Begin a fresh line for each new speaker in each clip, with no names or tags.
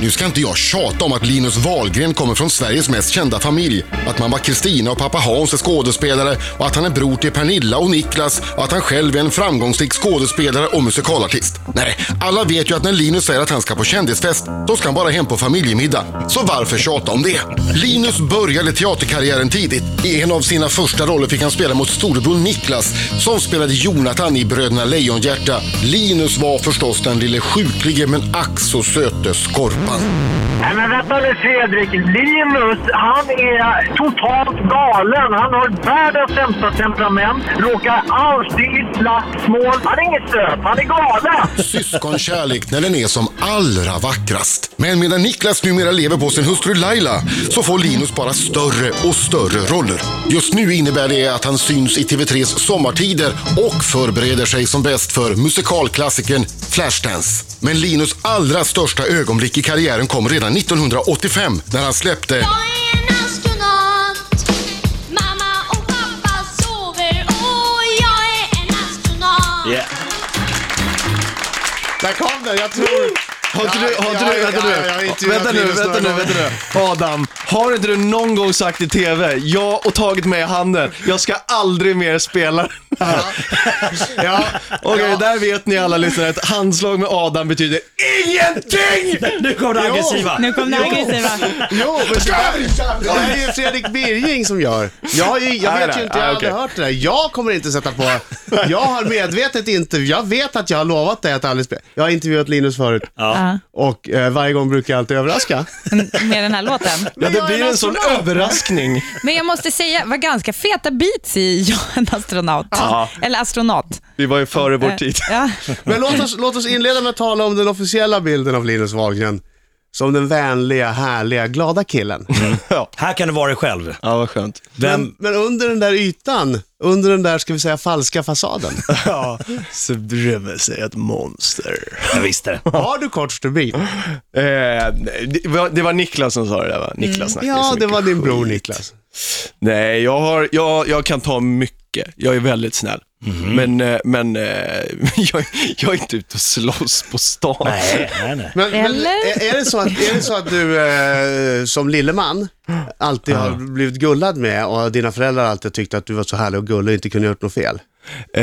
Nu ska inte jag tjata om att Linus Wahlgren kommer från Sveriges mest kända familj. Att mamma Kristina och pappa Hans är skådespelare och att han är bror till Pernilla och Niklas och att han själv är en framgångsrik skådespelare och musikalartist. Nej, alla vet ju att när Linus säger att han ska på kändisfest, då ska han bara hem på familjemiddag. Så varför tjata om det? Linus började teaterkarriären tidigt. I en av sina första roller fick han spela mot storebror Niklas som spelade Jonathan i Bröderna Lejonhjärta. Linus var förstås den lille sjuklige men ack så söte Skorpan.
Nej men vänta nu Fredrik, Linus han är totalt galen. Han har världens sämsta temperament, råkar alltid i slagsmål. Han är inget stöp, han är galen.
Syskonkärlek när den är som allra vackrast. Men medan Niklas numera lever på sin hustru Laila så får Linus bara större och större roller. Just nu innebär det att han syns i TV3s sommartider och förbereder sig som bäst för musikalklassikern Flashdance. Men Linus allra största ögonblick i karriären kom redan 1985 när han släppte
Jag är en astronaut. Mamma och pappa sover och jag är en astronaut.
Yeah.
Där kom den, jag tror...
Har inte du, har inte du, vänta
Ja, jag har
nu,
intervjuat
vänta nu,
Linus
vänta nu,
några
vänta nu. Adam, har inte du någon gång sagt i TV, ja och tagit mig i handen, jag ska aldrig mer spela den här.
gånger. Ja,
Okej, där vet ni alla lyssnare att handslag med Adam betyder INGENTING!
Nu kom det aggressiva.
Nu kom det aggressiva.
jo, men så, det är ju Fredrik Birging som gör. Jag, har ju, jag
Ah,
vet
där.
ju inte, jag
Ah,
har aldrig
okej.
hört det där. Jag kommer inte sätta på... Jag har medvetet inte... Jag vet att jag har lovat dig att aldrig spela. Jag har intervjuat Linus förut
Ja.
och eh, varje gång brukar jag alltid överraska.
Med den här låten.
Ja, det
jag är
blir
en
en sån
astronaut.
överraskning.
Men jag måste säga, var ganska feta beats i Jag är en astronaut. Eller astronaut.
Vi var ju före
Eh.
vår tid.
Ja.
Men låt oss, låt oss inleda med att tala om den officiella bilden av Linus Wahlgren. Som den vänliga, härliga, glada killen.
Här kan du vara dig själv.
Ja, vad skönt.
Vem,
Men under den där ytan, under den där, ska vi säga, falska fasaden.
Ja, så bredvid sig ett monster.
jag visste det.
Har du kort stubin?
Eh, det, var, det var Niklas som sa det där va? Niklas snackade så
Mm. Ja, det
mycket
var din
skit.
bror Niklas.
Nej, jag, har, jag, jag kan ta mycket. Jag är väldigt snäll.
Mhm.
Men, eh, men eh, jag, jag är inte ute och slåss på stan.
Nej, nej, nej.
Men, men
Eller?
är, är, det så att, är det så att du eh, som lilleman alltid har blivit gullad med och dina föräldrar alltid tyckte att du var så härlig och gullig och inte kunde gjort något fel?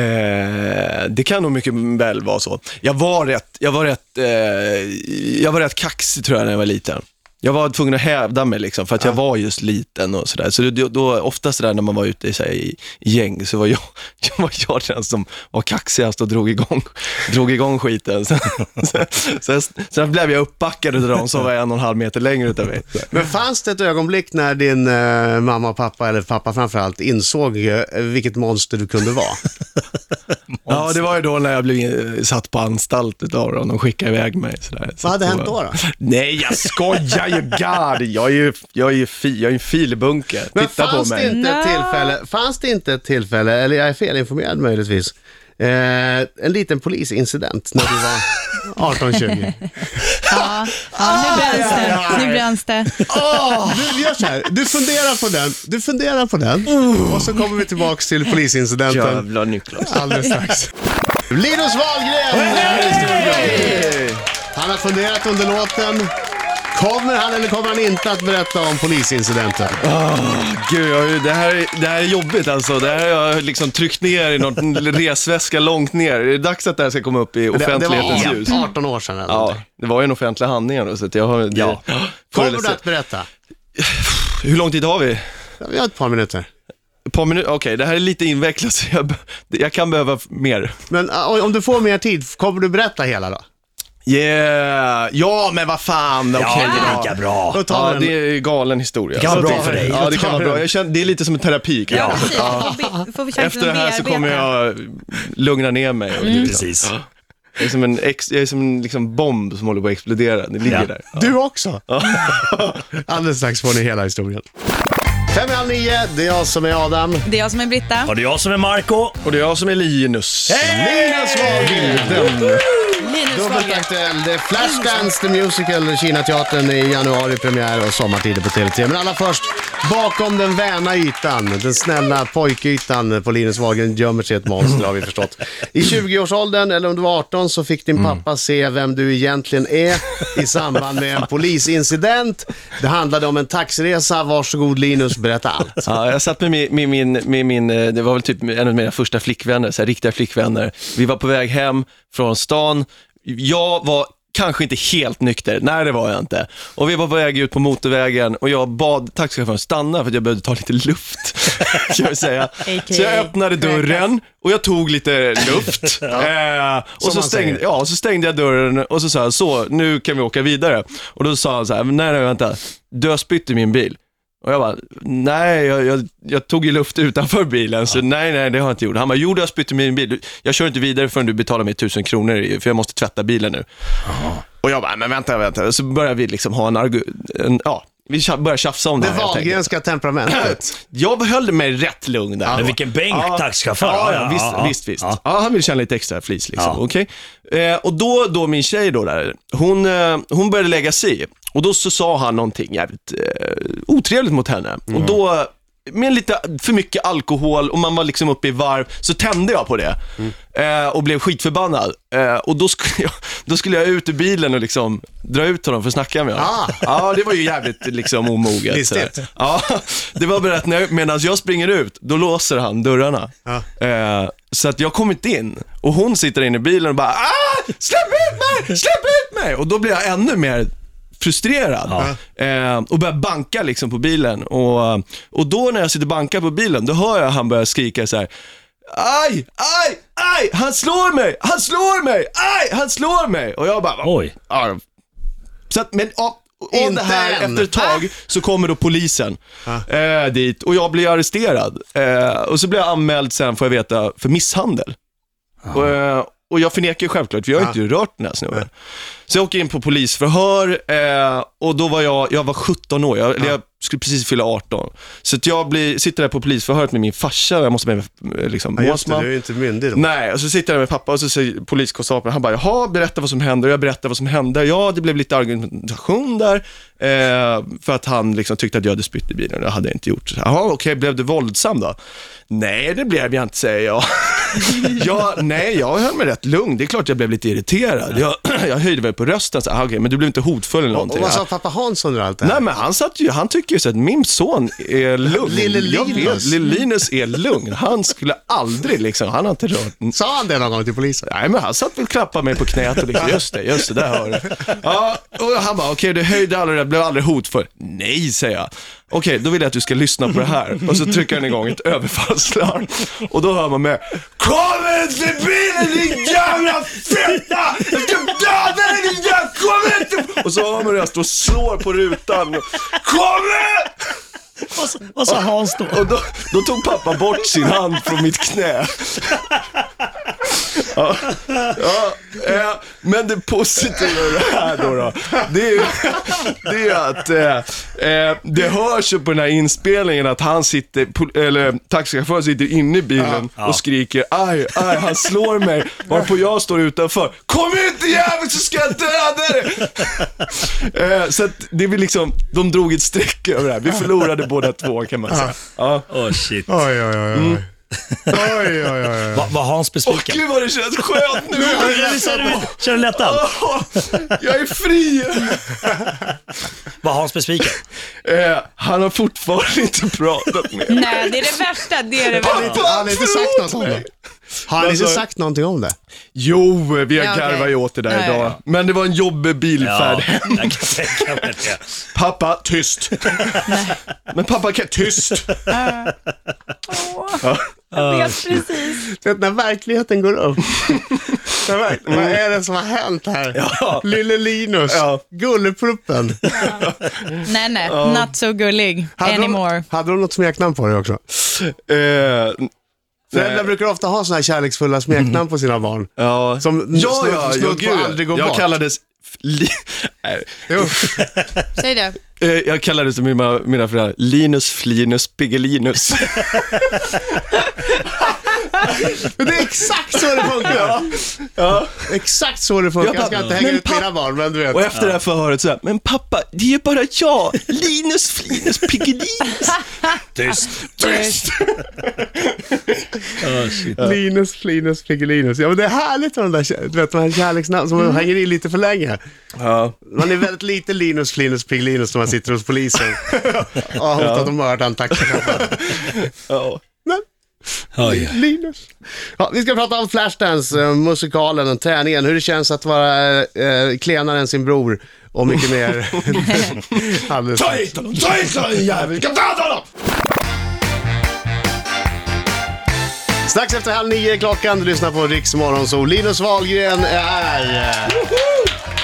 Eh, det kan nog mycket väl vara så. Jag var rätt, jag var rätt, eh, jag var rätt kaxig tror jag när jag var liten. Jag var tvungen att hävda mig liksom, för att jag var just liten och sådär. Så då, då, oftast där när man var ute i, så här, i gäng så var jag, jag, var jag den som var kaxigast och drog igång, drog igång skiten. Sen, sen, sen, sen blev jag uppbackad utav dem som var en och en halv meter längre utav mig.
Men fanns det ett ögonblick när din eh, mamma och pappa, eller pappa framförallt, insåg eh, vilket monster du kunde vara?
Ja, det var ju då när jag blev in- satt på anstalt utav dem. De skickade iväg mig. Sådär. Så
Vad hade
att
hänt då,
var-
då?
Nej, jag skojar ju. God. Jag är ju, jag är ju, fi, jag är en filbunke.
Men
Titta på
fanns
mig.
Det inte ett
No.
tillfälle, fanns det inte ett tillfälle, eller jag är felinformerad möjligtvis, eh, en liten polisincident när du var 18-20?
Ja. Ja, nu bränns det. Nu bränns det.
Du, vi gör så här, du funderar på den, du funderar på den
Uh.
och så kommer vi tillbaks till polisincidenten
Jävla Niklas.
alldeles strax. Linus Wahlgren! här i studion. Han har funderat under låten. Kommer han eller kommer han inte att berätta om polisincidenten?
Gud, jag, är ju- det, här, är- det här är jobbigt alltså. Det här har jag liksom tryckt ner i någon resväska långt ner. Det är dags att det här ska komma upp i
Det, det
offentlighetens ljus.
var 18 år sedan. Eller?
Ja,
någonting.
det var ju en offentlig handling ändå, så att jag har... Det,
Ja.
Förr
Kommer
eller
du
sen-
att berätta?
Hur lång tid har vi?
Vi har ett par minuter.
Ett par minuter? Okej, det här är lite invecklat, så jag, be- jag kan behöva f- mer.
Men ah, oj, om du får mer tid, kommer du berätta hela då?
Yeah! Ja, men vad fan!
Ja,
Okej,
det är
ja.
lika bra.
Då tar
Ja,
vi den.
det är galen historia.
Det kan vara
Så
bra
det-
för dig.
Ja, det kan vara bra. Jag känner, det är lite som en terapi kanske.
Ja.
Precis, då be- får vi chansen
Efter det
att
här så
bearbeta.
kommer jag lugna ner mig. Och liksom.
Precis.
Jag är som en, ex, jag är som en liksom bomb som håller på att explodera. Det ligger
Ja.
där.
Du också? Alldeles strax får ni hela historien. Fem i halv nio, det är jag som är Adam.
Det är jag som är Britta.
Och det är jag som är Marco.
Och det är jag som är Linus.
Linus Wahlgren.
Linus
Dubbelt
Wahlgren.
aktuell. Det är Flashdance the Musical, Kinateatern i januari, premiär och sommartider på TVT. Men alla först, Bakom den väna ytan, den snälla pojkytan på Linus Wahlgren gömmer sig ett monster har vi förstått. I 20-årsåldern, eller om du var 18, så fick din pappa se vem du egentligen är i samband med en polisincident. Det handlade om en taxiresa. Varsågod Linus, berätta allt.
Ja, jag satt med min, med min, med min eh, det var väl typ en av mina första flickvänner, så här, riktiga flickvänner. Vi var på väg hem från stan. Jag var kanske inte helt nykter, nej det var jag inte. Och vi var på väg ut på motorvägen och jag bad taxichauffören stanna för att jag behövde ta lite luft. kan jag säga.
A.k.a.
Så jag öppnade dörren och jag tog lite luft. eh, och så
man
stängde,
säger.
ja, så stängde jag dörren och så sa jag, så nu kan vi åka vidare. Och då sa han så här, nej nej vänta, du har spytt i min bil. Och jag bara, nej, jag, jag, jag tog ju luft utanför bilen, så nej, nej, det har jag inte gjort. Han bara, jo, du har spytt i min bil. Du- Jag kör inte vidare förrän du betalar mig tusen kronor, i- för jag måste tvätta bilen nu. Och jag bara, men vänta, vänta. Så börjar vi liksom ha en argu... En, ja, vi tja- börjar tjafsa om det,
Det
här, helt enkelt.
Wahlgrenska temperamentet.
Jag behöll mig rätt lugn där.
Men vilken bänk taxichaufför.
Ja, ja, visst, visst. visst. Ja. han vill tjäna lite extra flis liksom. Okej. Eh, och då, då min tjej då där, hon, eh, hon började lägga sig i. Och då så sa han någonting jävligt eh, otrevligt mot henne. Och då, med lite för mycket alkohol och man var liksom uppe i varv, så tände jag på det. Eh, och blev skitförbannad. Eh, och då skulle, jag, då skulle jag ut ur bilen och liksom dra ut honom för att snacka med honom.
Ah.
Ja, det var ju jävligt liksom omoget.
Listigt.
sådär. Ja, det var bara att när jag- medan jag springer ut, då låser han dörrarna. Eh, så att jag kommer inte in. Och hon sitter inne i bilen och bara ah, Släpp ut mig! Släpp ut mig! Och då blir jag ännu mer frustrerad. Eh, och börjar banka liksom på bilen. Och, och då när jag sitter och bankar på bilen, då hör jag han börja skrika så här. Aj, aj, aj! Han slår mig! Han slår mig! Aj, han slår mig! Och jag bara,
Oj.
Ja. Så att, men ja, om
Inte
det här
än. Ah.
efter ett tag så kommer då polisen eh, dit och jag blir arresterad. Eh, och så blir jag anmäld sen, får jag veta, för misshandel.
Ah.
Och, eh, och jag förnekar ju självklart, för jag har inte rört den här snubben. Så jag åker in på polisförhör eh, och då var jag, jag var 17 år,
Ah.
jag, eller jag skulle precis fylla 18. Så att jag blir, sitter där på polisförhöret med min farsa, och jag måste med eh, liksom,
Ja, just det,
målsman.
du är ju inte myndig då.
Nej, och så sitter jag med pappa och så säger poliskonstapeln, han bara, jaha, berätta vad som hände. Och jag berättar vad som hände. Ja, det blev lite argumentation där, eh, för att han liksom tyckte att jag hade spytt i bilen. Det hade jag inte gjort. Så, Jaha, okej, blev du våldsam då? Nej, det blev jag inte, säger jag. ja, nej, jag höll mig rätt lugn. Det är klart jag blev lite irriterad. Jag, jag höjde väl på rösten, så här, "Ah, okej, men du blev inte hotfull eller
Och
någonting.
vad
Ja.
sa pappa Hansson under allt det här?
Nej men han satt ju, han tycker ju så att min son är lugn.
Lille
Jag vet,
Linus.
Lille Linus är lugn. Han skulle aldrig liksom, han har inte rört
Sa han det någon gång till polisen?
Nej, men han satt väl och klappade mig på knät och liksom, just det, just det, där hör du. Ja, och han bara, okej, du höjde aldrig det, blev aldrig hotfull. Nej, säger jag. Okej, då vill jag att du ska lyssna på det här. Och så trycker han igång ett överfallslarm. Och då hör man med, kom ut till bilen din jävla fitta! Jag ska döda dig din jävla, kom ut! Och så hör man hur jag står och slår på rutan. Kom ut!
Vad sa- Vad sa Hans då?
Och då, då tog pappa bort sin hand från mitt knä. Ja, ja, eh, men det positiva i det här då, då det, är ju, det är att eh, eh, det hörs ju på den här inspelningen att han sitter, pol- eller taxichauffören sitter inne i bilen och skriker aj, aj, han slår mig. Varpå jag står utanför. Kom ut din jävel så ska jag döda dig! Eh, så att det är väl liksom, de drog ett streck över det här. Vi förlorade båda två kan man säga. Ja.
Åh shit.
Oj, oj, oj. oj. Oj, oj, oj, oj.
Va- Var Hans
Åh
besviken?
gud vad det känns skönt nu!
Känner du- Känner du lättnad?
Åh, jag är fri!
Var Hans besviken?
Eh, han har fortfarande inte pratat med mig.
Nej, det är det värsta. Det är det
Pappa,
värsta.
Han har inte sagt något
förlåt
om det.
mig.
Har han inte
Alltså-
sagt någonting om det?
Jo, vi har
Ja, okej.
garvat åt det där
Ja, ja,
idag. Men det var en jobbig bilfärd
Ja,
hem.
jag kan tänka mig det.
Pappa, tyst! Men pappa, kan tyst! Eh,
Jag vet precis.
Du vet, när verkligheten går upp. När verk- Vad är det som har hänt här? Lille Linus,
Ja.
gullepluppen.
Nej, nej. Not so gullig anymore.
Hon, hade hon något smeknamn på dig också?
Eh,
Föräldrar brukar ofta ha sådana här kärleksfulla smeknamn på sina barn.
ja,
Som
ja,
snudd-
ja,
snudd
ja
på
gud.
aldrig går
jag
bort.
kallades... Li- Nej,
Säg det.
eh, jag kallades som mina, mina föräldrar Linus Flinus Piggelinus.
Men det är exakt så det funkar. Ja. Exakt så det funkar.
Jag
Jag ska
bara,
inte hänga
men
ut mina
pappa-
barn, men du vet.
Och efter det här förhöret så här, men pappa, det är ju bara jag, Linus Flinus Piggelinus.
Tyst.
Tyst!
Oh, shit.
Linus, Flinus, Piggelinus. Ja, men det är härligt med de där, kär- du vet, de här kärleksnamnen som man hänger i lite för länge.
Ja.
Man är väldigt lite Linus, Flinus, Piggelinus när man sitter hos polisen. Ja, hotat att mörda en taxichaufför.
Ja.
Men
Oj.
Linus. Ja, vi ska prata om Flashdance, eh, musikalen och träningen. Hur det känns att vara eh, klenare än sin bror och mycket mer. Alldeles strax.
hit honom, ta hit honom din jävel, ska döda honom!
Strax efter halv nio är klockan, du lyssnar på Riks Morgonzoo. Linus Wahlgren är eh, här.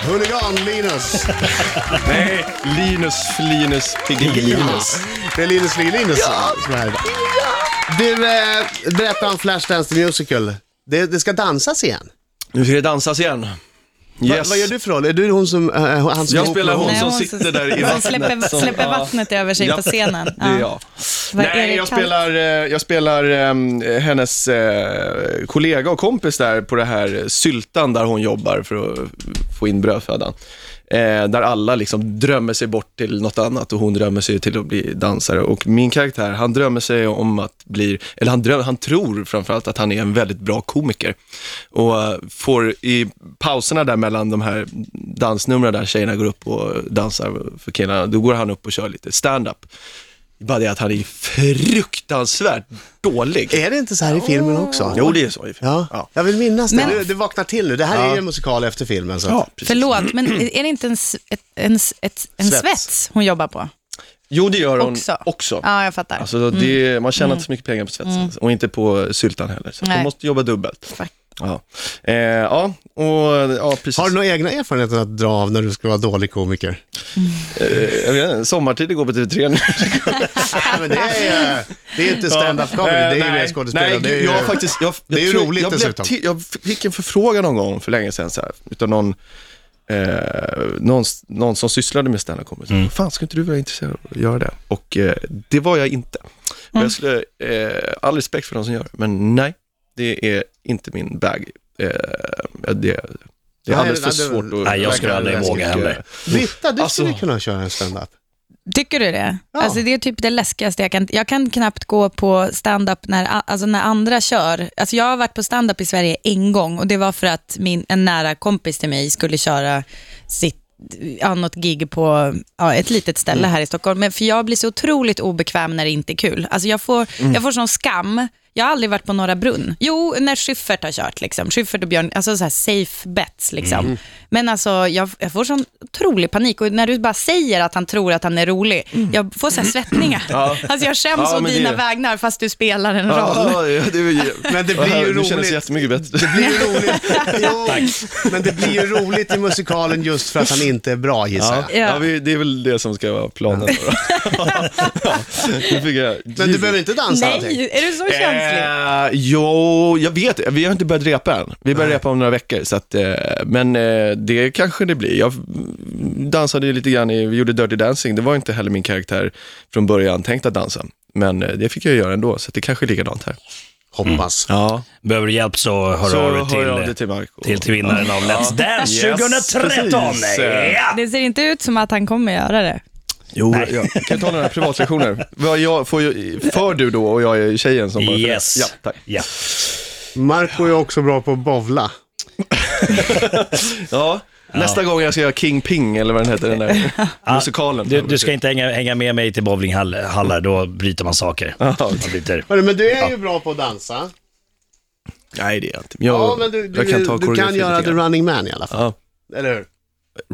Huligan-Linus.
Nej, Linus Flinus Piggelinus.
Det är Linus Linus som är här idag. Du, eh, berätta om Flashdance the Musical. Det, det ska dansas igen.
Nu ska det dansas igen.
Va,
Yes.
vad gör du för roll? Är du hon som, eh, han som är
Jag
ihop
spelar
med
hon
Nej,
som
hon
sitter där i
som
vattnet.
Släpper,
som-
släpper
ja.
vattnet över sig på
Ja,
scenen.
Det är jag.
Vad är det
Nej, jag
kallt?
spelar, eh, jag spelar ehm, hennes eh, kollega och kompis där på det här syltan där hon jobbar för att få in brödfödan. Eh, där alla liksom drömmer sig bort till något annat och hon drömmer sig till att bli dansare. Och min karaktär, han drömmer sig om att bli, eller han, drömmer, han tror framförallt att han är en väldigt bra komiker. Och eh, får i pauserna där mellan de här dansnumren där tjejerna går upp och dansar för killarna, då går han upp och kör lite stand-up. Bara det att han är fruktansvärt dålig.
Är det inte så här i filmen också?
Jo, det är så i och för sig.
Ja, jag vill minnas det.
Men-
Du, du vaknar till nu. Det här är ju en musikal efter filmen. Så.
Ja, precis.
Förlåt, men är det inte en, s- ett, en, s- ett, en
Svets.
svets. hon jobbar på?
Jo, det gör hon
Också.
också.
Ja, jag fattar.
Alltså,
Mm.
det, man tjänar inte så mycket pengar på svetsen och inte på syltan heller. Så att
Nej.
man måste jobba dubbelt.
Fuck.
Ja, eh, ja, och, ja precis.
Har du några egna erfarenheter att dra av när du ska vara dålig komiker?
eh, jag vet inte, sommartid går på TV3 nu.
Nej, men det är, det är inte stand-up comedy, det är ju
Eh,
mer
nej,
skådespelare.
Nej,
Det är ju-
jag har faktiskt, jag, jag
det är ju
tror-
roligt
jag blev
dessutom.
till- jag fick en förfrågan någon gång för länge sedan, så här, utan någon, eh, någon, någon som sysslade med stand-up comedy.
Mm.
Fan, skulle inte du vara intresserad av att göra det? Och eh, det var jag inte. Och
Mm.
jag skulle, eh, all respekt för de som gör det, men nej, det är inte min bag. Eh, det, det är alldeles för
nej, det-
svårt att...
Nej, jag skulle aldrig
verkligen-
våga heller.
Britta, du skulle
Alltså-
kunna köra en stand-up.
Tycker du det? Alltså det är typ det läskigaste jag kan... Jag kan knappt gå på stand-up när, a- alltså när andra kör. Alltså jag har varit på stand-up i Sverige en gång och det var för att min, en nära kompis till mig skulle köra sitt ja, något gig på ja, ett litet ställe
Mm.
här i Stockholm. Men för jag blir så otroligt obekväm när det inte är kul. Alltså jag får,
Mm.
jag får sån skam. Jag har aldrig varit på Norra Brunn. Jo, när Schyffert har kört. Liksom. Schyffert och Björn, alltså så här safe bets. Liksom.
Mm.
Men alltså, jag, jag får sån otrolig panik. Och när du bara säger att han tror att han är rolig, jag får så här svettningar. Alltså jag skäms
Ja,
å
men
dina
det-
vägnar fast du spelar en roll.
Ja, ja, det,
Men det blir ju
Nu kändes
roligt.
det jättemycket bättre.
Det blir ju roligt. Jo, men det blir ju roligt i musikalen just för att han inte är bra gissar
Ja,
jag.
Ja.
ja. vi, det är väl det som ska vara planen. då. ja, nu fick jag,
Men du behöver inte dansa någonting.
Nej, är du så känslig?
Eh, jo, jag vet Vi har inte börjat repa än. Vi börjar repa om några veckor, så att, eh, men eh, det kanske det blir. Jag dansade ju lite grann i, vi gjorde Dirty Dancing. Det var inte heller min karaktär från början tänkt att dansa. Men eh, det fick jag göra ändå, så att det kanske är likadant här.
Hoppas.
Ja,
Behöver du hjälp så hör
så
av
hör
dig till,
jag av dig till Marco.
till, till vinnaren av Let's Dance
Yes,
2013.
precis.
Ja.
Det ser inte ut som att han kommer göra det.
Jo, jag kan jag ta några privatlektioner. Vad jag, får, ju- för du då och jag är tjejen som bara...
Yes.
Ja, tack.
Ja.
Marco är också bra på att bovla.
Ja, nästa gång jag ska göra King Ping eller vad den heter, den där musikalen.
Du, du ska inte hänga, hänga med mig till bowlinghallar, då bryter man saker. Man bryter.
Hörru, men du är ju bra på att dansa.
Nej, det är jag inte. Jag,
Ja, men du, du,
jag kan ta
du kan
koreografi
göra
lite
The
grann.
Running Man i alla fall.
Ja.
Eller hur?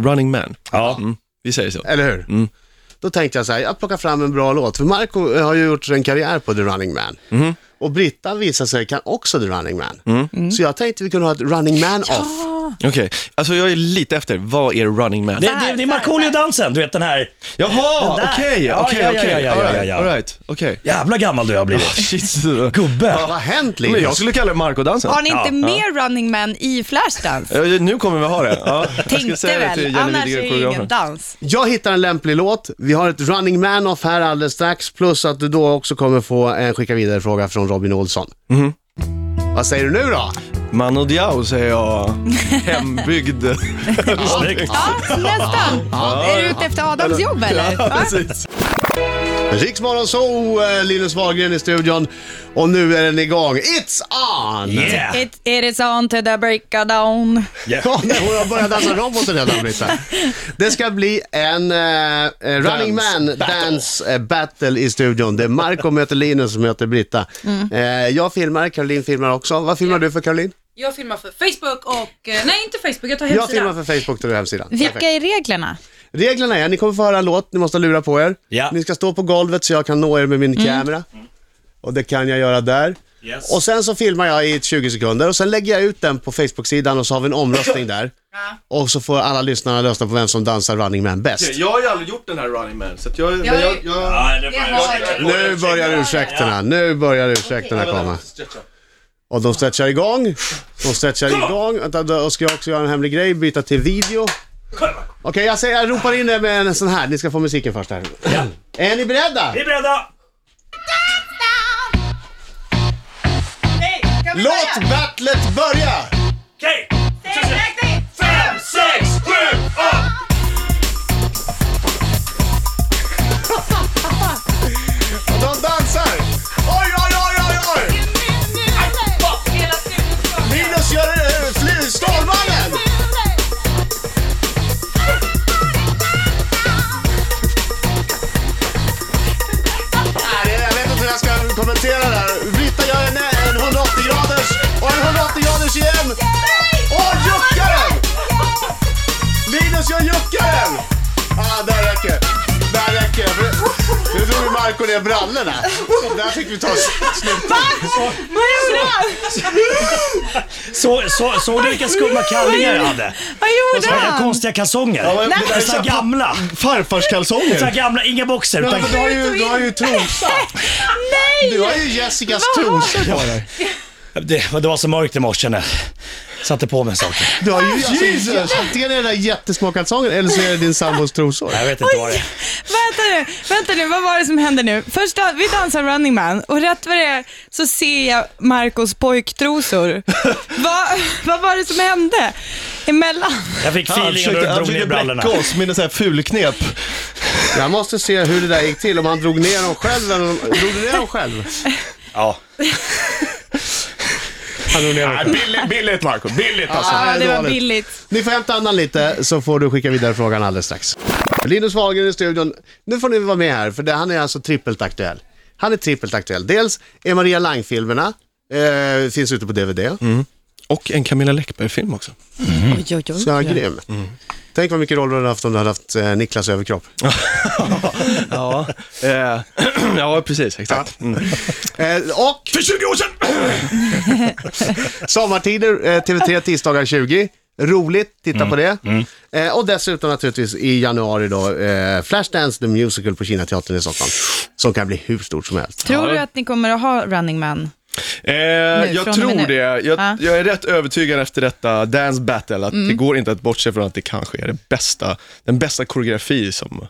Running Man.
Ja.
Mm. Vi säger så.
Eller hur?
Mm.
Då tänkte jag så här, jag plockar fram en bra låt. För Marco har ju gjort en karriär på The Running Man.
Mm.
Och Britta visar sig kan också The Running Man. Så jag tänkte vi kunde ha ett Running Man-off.
Okej, alltså jag är lite efter. Vad är Running Man?
Det, det, det är Markoolio-dansen, du vet den här.
Jaha,
Den där.
okej,
Ja,
okej,
ja, ja,
okej.
ja, ja, ja,
All right,
ja.
all right, okej.
Jävla gammal du har blivit.
Shit.
Gubbe.
Vad har hänt
Men
Linus?
jag skulle kalla det Marco-dansen.
Har ni inte
Ja.
mer Running Man i Flashdance?
Ja, Nu kommer vi ha det. Ja, jag ska
Tänkte
säga det till
väl,
Jenny
annars är
Widegren,
det ju ingen
koreografen.
dans.
Jag hittar en lämplig låt. Vi har ett running man off här
Mm.
alldeles strax. Plus att du då också kommer få en skicka vidare fråga från Robin Olsson. Vad säger du nu då?
Mano Diao säger jag. Hembygd.
Snyggt.
Ja, nästan. Är du ute efter Adams jobb eller?
Ja,
Va?
precis.
Riksmorgon så eh, Linus Wahlgren i studion och nu är den igång. It's on!
Yeah.
It, it is on to the break of dawn.
Ja, nej, hon har börjat dansa roboten redan Britta. Det ska bli en eh, eh, running man dance eh, battle i studion. Det är Marco möter Linus som möter Britta. Eh, jag filmar, Caroline filmar också. Vad filmar du för Caroline?
Jag filmar för Facebook och, eh, nej inte Facebook, jag tar
Jag filmar
hemsidan.
för Facebook, där du hemsidan.
Vilka är reglerna?
Reglerna är, ni kommer få höra en låt, ni måste lura på er.
Ja. Mm.
Ni ska stå på golvet så jag kan nå er med min kamera. Och det kan jag göra där.
Yes.
Och sen så filmar jag i 20 sekunder och sen lägger jag ut den på Facebook-sidan och så har vi en omröstning där. Och så får alla lyssnarna rösta på vem som dansar Running Man bäst.
Jag har ju aldrig gjort den här Running Man, så att jag... men
Jag-
jag, jag...
Ja, det var-
Jag har-
jag-
Nu börjar ursäkterna, nu börjar ursäkterna komma. Och de stretchar igång, de stretchar igång. Vänta, då ska jag också göra en hemlig grej, byta till video. Okej, jag, säger, jag ropar in er med en sån här. Ni ska få musiken först här. Är ni beredda?
Vi är beredda.
Nej, kan vi
Låt
börja?
battlet börja!
Okej.
Räkning!
Fem, sex, sju, åtta.
De dansar! Oj, oj, oj, oj, oj!
Hela studion ska vara med.
Linus gör eh, fly, Stålmannen! Nej, Jag vet inte hur jag ska kommentera det här. Britta gör en, en 180 graders och en 180 graders igen. Och juckaren! Linus gör juckaren! Ah, där räcker Där räcker det. Nu drog ju Marco ner brallorna. Där fick vi ta s- slut.
Så, så, såg du vilka skumma kallingar jag hade?
Vad
Och så
gjorde
hade jag
han?
konstiga kalsonger. Det är så här gamla. Så här
Farfarskalsonger.
gamla, inga boxer.
Ja,
Utan,
men Du har ju, du har ju trosa.
Nej!
Du har ju Jessicas trosa på dig.
det, det var så mörkt i morse när jag satte på mig saker.
Du har ju alltså, antingen är det där jättesmå kalsonger eller så är det din sambos trosor.
Jag vet inte vad det är.
Vänta nu, vänta nu, vad var det som hände nu? Först dan- vi dansar Running Man och rätt vad det är så ser jag Marcos pojktrosor. Va, vad var det som hände emellan?
Jag fick
Han
feelingen och
försökte, han
drog ner
försökte
brallorna.
bläcka oss med en sån här fulknep.
Jag måste se hur det där gick till, om han drog ner dem själv eller om, drog du ner dem själv?
Ja.
Han drog ner dem själv.
Billigt, billigt Marco, billigt alltså.
Ah,
Ja, det var
dåligt.
billigt.
Ni får hämta andan lite så får du skicka vidare frågan alldeles strax. Linus Wahlgren i studion. Nu får ni vara med här för det, han är alltså trippelt aktuell. Han är trippelt aktuell. Dels är Maria Lang-filmerna, eh, finns ute på DVD.
Och en Camilla Läckberg-film också.
Oj, oj, oj.
Så han är grym. Tänk vad mycket roller du hade haft om du hade haft eh, Niklas överkropp.
Ja, eh, ja precis. Exakt. Mm.
Eh, och
För 20 år sedan!
Sommartider, eh, TV3 tisdagar 20. Roligt, titta på det. Eh, och dessutom naturligtvis i januari då, eh, Flashdance the Musical på Kinateatern i Stockholm. Som kan bli hur stort som helst.
Tror du att ni kommer att ha Running Man?
Eh, jag
från och med
tror
nu.
det. Jag,
Ja. Mm.
jag är rätt övertygad efter detta Dance Battle att det går inte att bortse från att det kanske är det bästa, den bästa koreografi som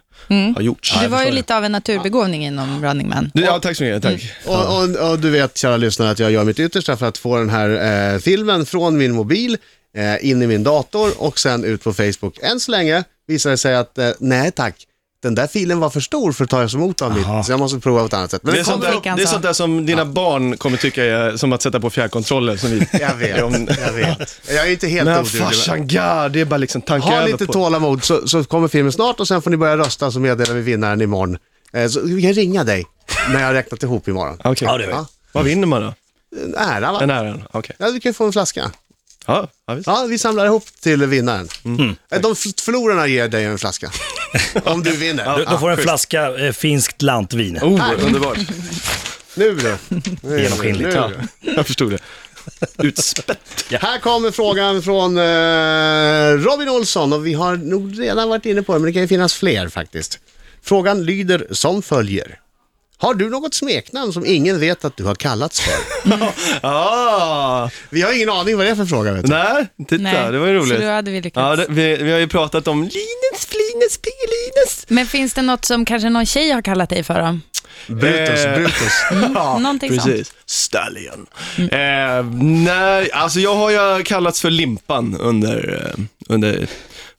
har gjorts.
Mm. Det var ju lite Mm. av en naturbegåvning inom Running Man.
Du, ja, tack så mycket. Tack.
Och, och, och du vet, kära lyssnare, att jag gör mitt yttersta för att få den här eh, filmen från min mobil eh, in i min dator och sen ut på Facebook. Än så länge visar det sig att, eh, nej tack, den där filen var för stor för att tas emot av mitt, så jag måste prova på ett annat sätt. Men
Det är,
den
sånt
kommer upp.
där, det är sånt där som dina barn kommer tycka är som att sätta på fjärrkontrollen. Som vi,
Jag vet,
om-
jag vet. Jag är inte helt
Men
oduglig, men-
farsan, ja, det är bara liksom tanka
Ha
över
lite
på.
tålamod så, så kommer filmen snart och sen får ni börja rösta så meddelar vi vinnaren imorgon. Eh, så vi kan ringa dig när jag har räknat ihop imorgon.
Okej.
Ja, det vet.
Ja,
Vad vinner man då?
en ära
Den
va?
äran? Okej.
Ja, du kan få en flaska.
Ja, ja, visst.
Ja, vi samlar ihop till vinnaren. Eh, De f- förlorarna ger dig en flaska. Om du vinner.
Du, då
Ja.
får du en flaska eh, finskt lantvin.
Oh, underbart.
Nu du. Nu,
Genomskinligt.
nu du.
Jag förstod det. Utspätt.
Här kommer frågan från eh, Robin Olsson och vi har nog redan varit inne på det, men det kan ju finnas fler faktiskt. Frågan lyder som följer. Har du något smeknamn som ingen vet att du har kallats för?
Ah,
Vi har ingen aning vad det är för fråga. Vet du.
nej, titta,
Nej,
det var ju roligt.
så då hade vi lyckats.
Ja, det, vi, vi har ju pratat om Linus, Flinus, Pingelinus.
Men finns det något som kanske någon tjej har kallat dig för då?
Brutus,
Eh,
Brutus.
ja,
Mm, någonting
precis. Stallion. Eh, nej, alltså jag har ju kallats för Limpan under, eh, under,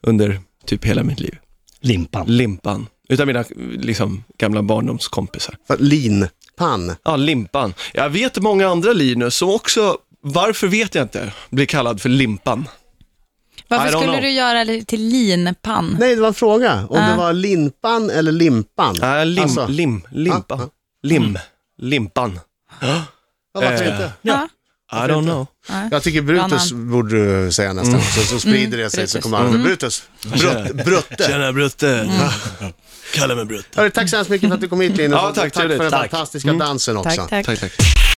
under typ hela mitt liv.
Limpan.
Limpan. Utav mina liksom, gamla barndomskompisar.
För- Lin. Pan.
Ja, Limpan. Jag vet många andra Linus som också, varför vet jag inte, blir kallad för Limpan. I
Varför
don't
skulle
know.
du göra det till linpann?
Nej, det var en fråga. Om det var linpan eller limpan.
Nej, Ah, lim,
Alltså,
lim, limpa.
ja.
Lim, limpan.
ja, varför
eh,
inte?
Ja.
I don't know.
Jag tycker Brutus borde du säga nästan.
Mm.
Så, så sprider det sig så
Brutus.
kommer han Brutus. Brut, brutte.
Tjena Brutte. Kalla mig Brutte.
Hörru, tack så hemskt mycket för att du kom hit Linus.
Ja, tack,
för
trevligt.
den
Tack. Mm.
fantastiska dansen också.
Tack, tack.
Tack, tack.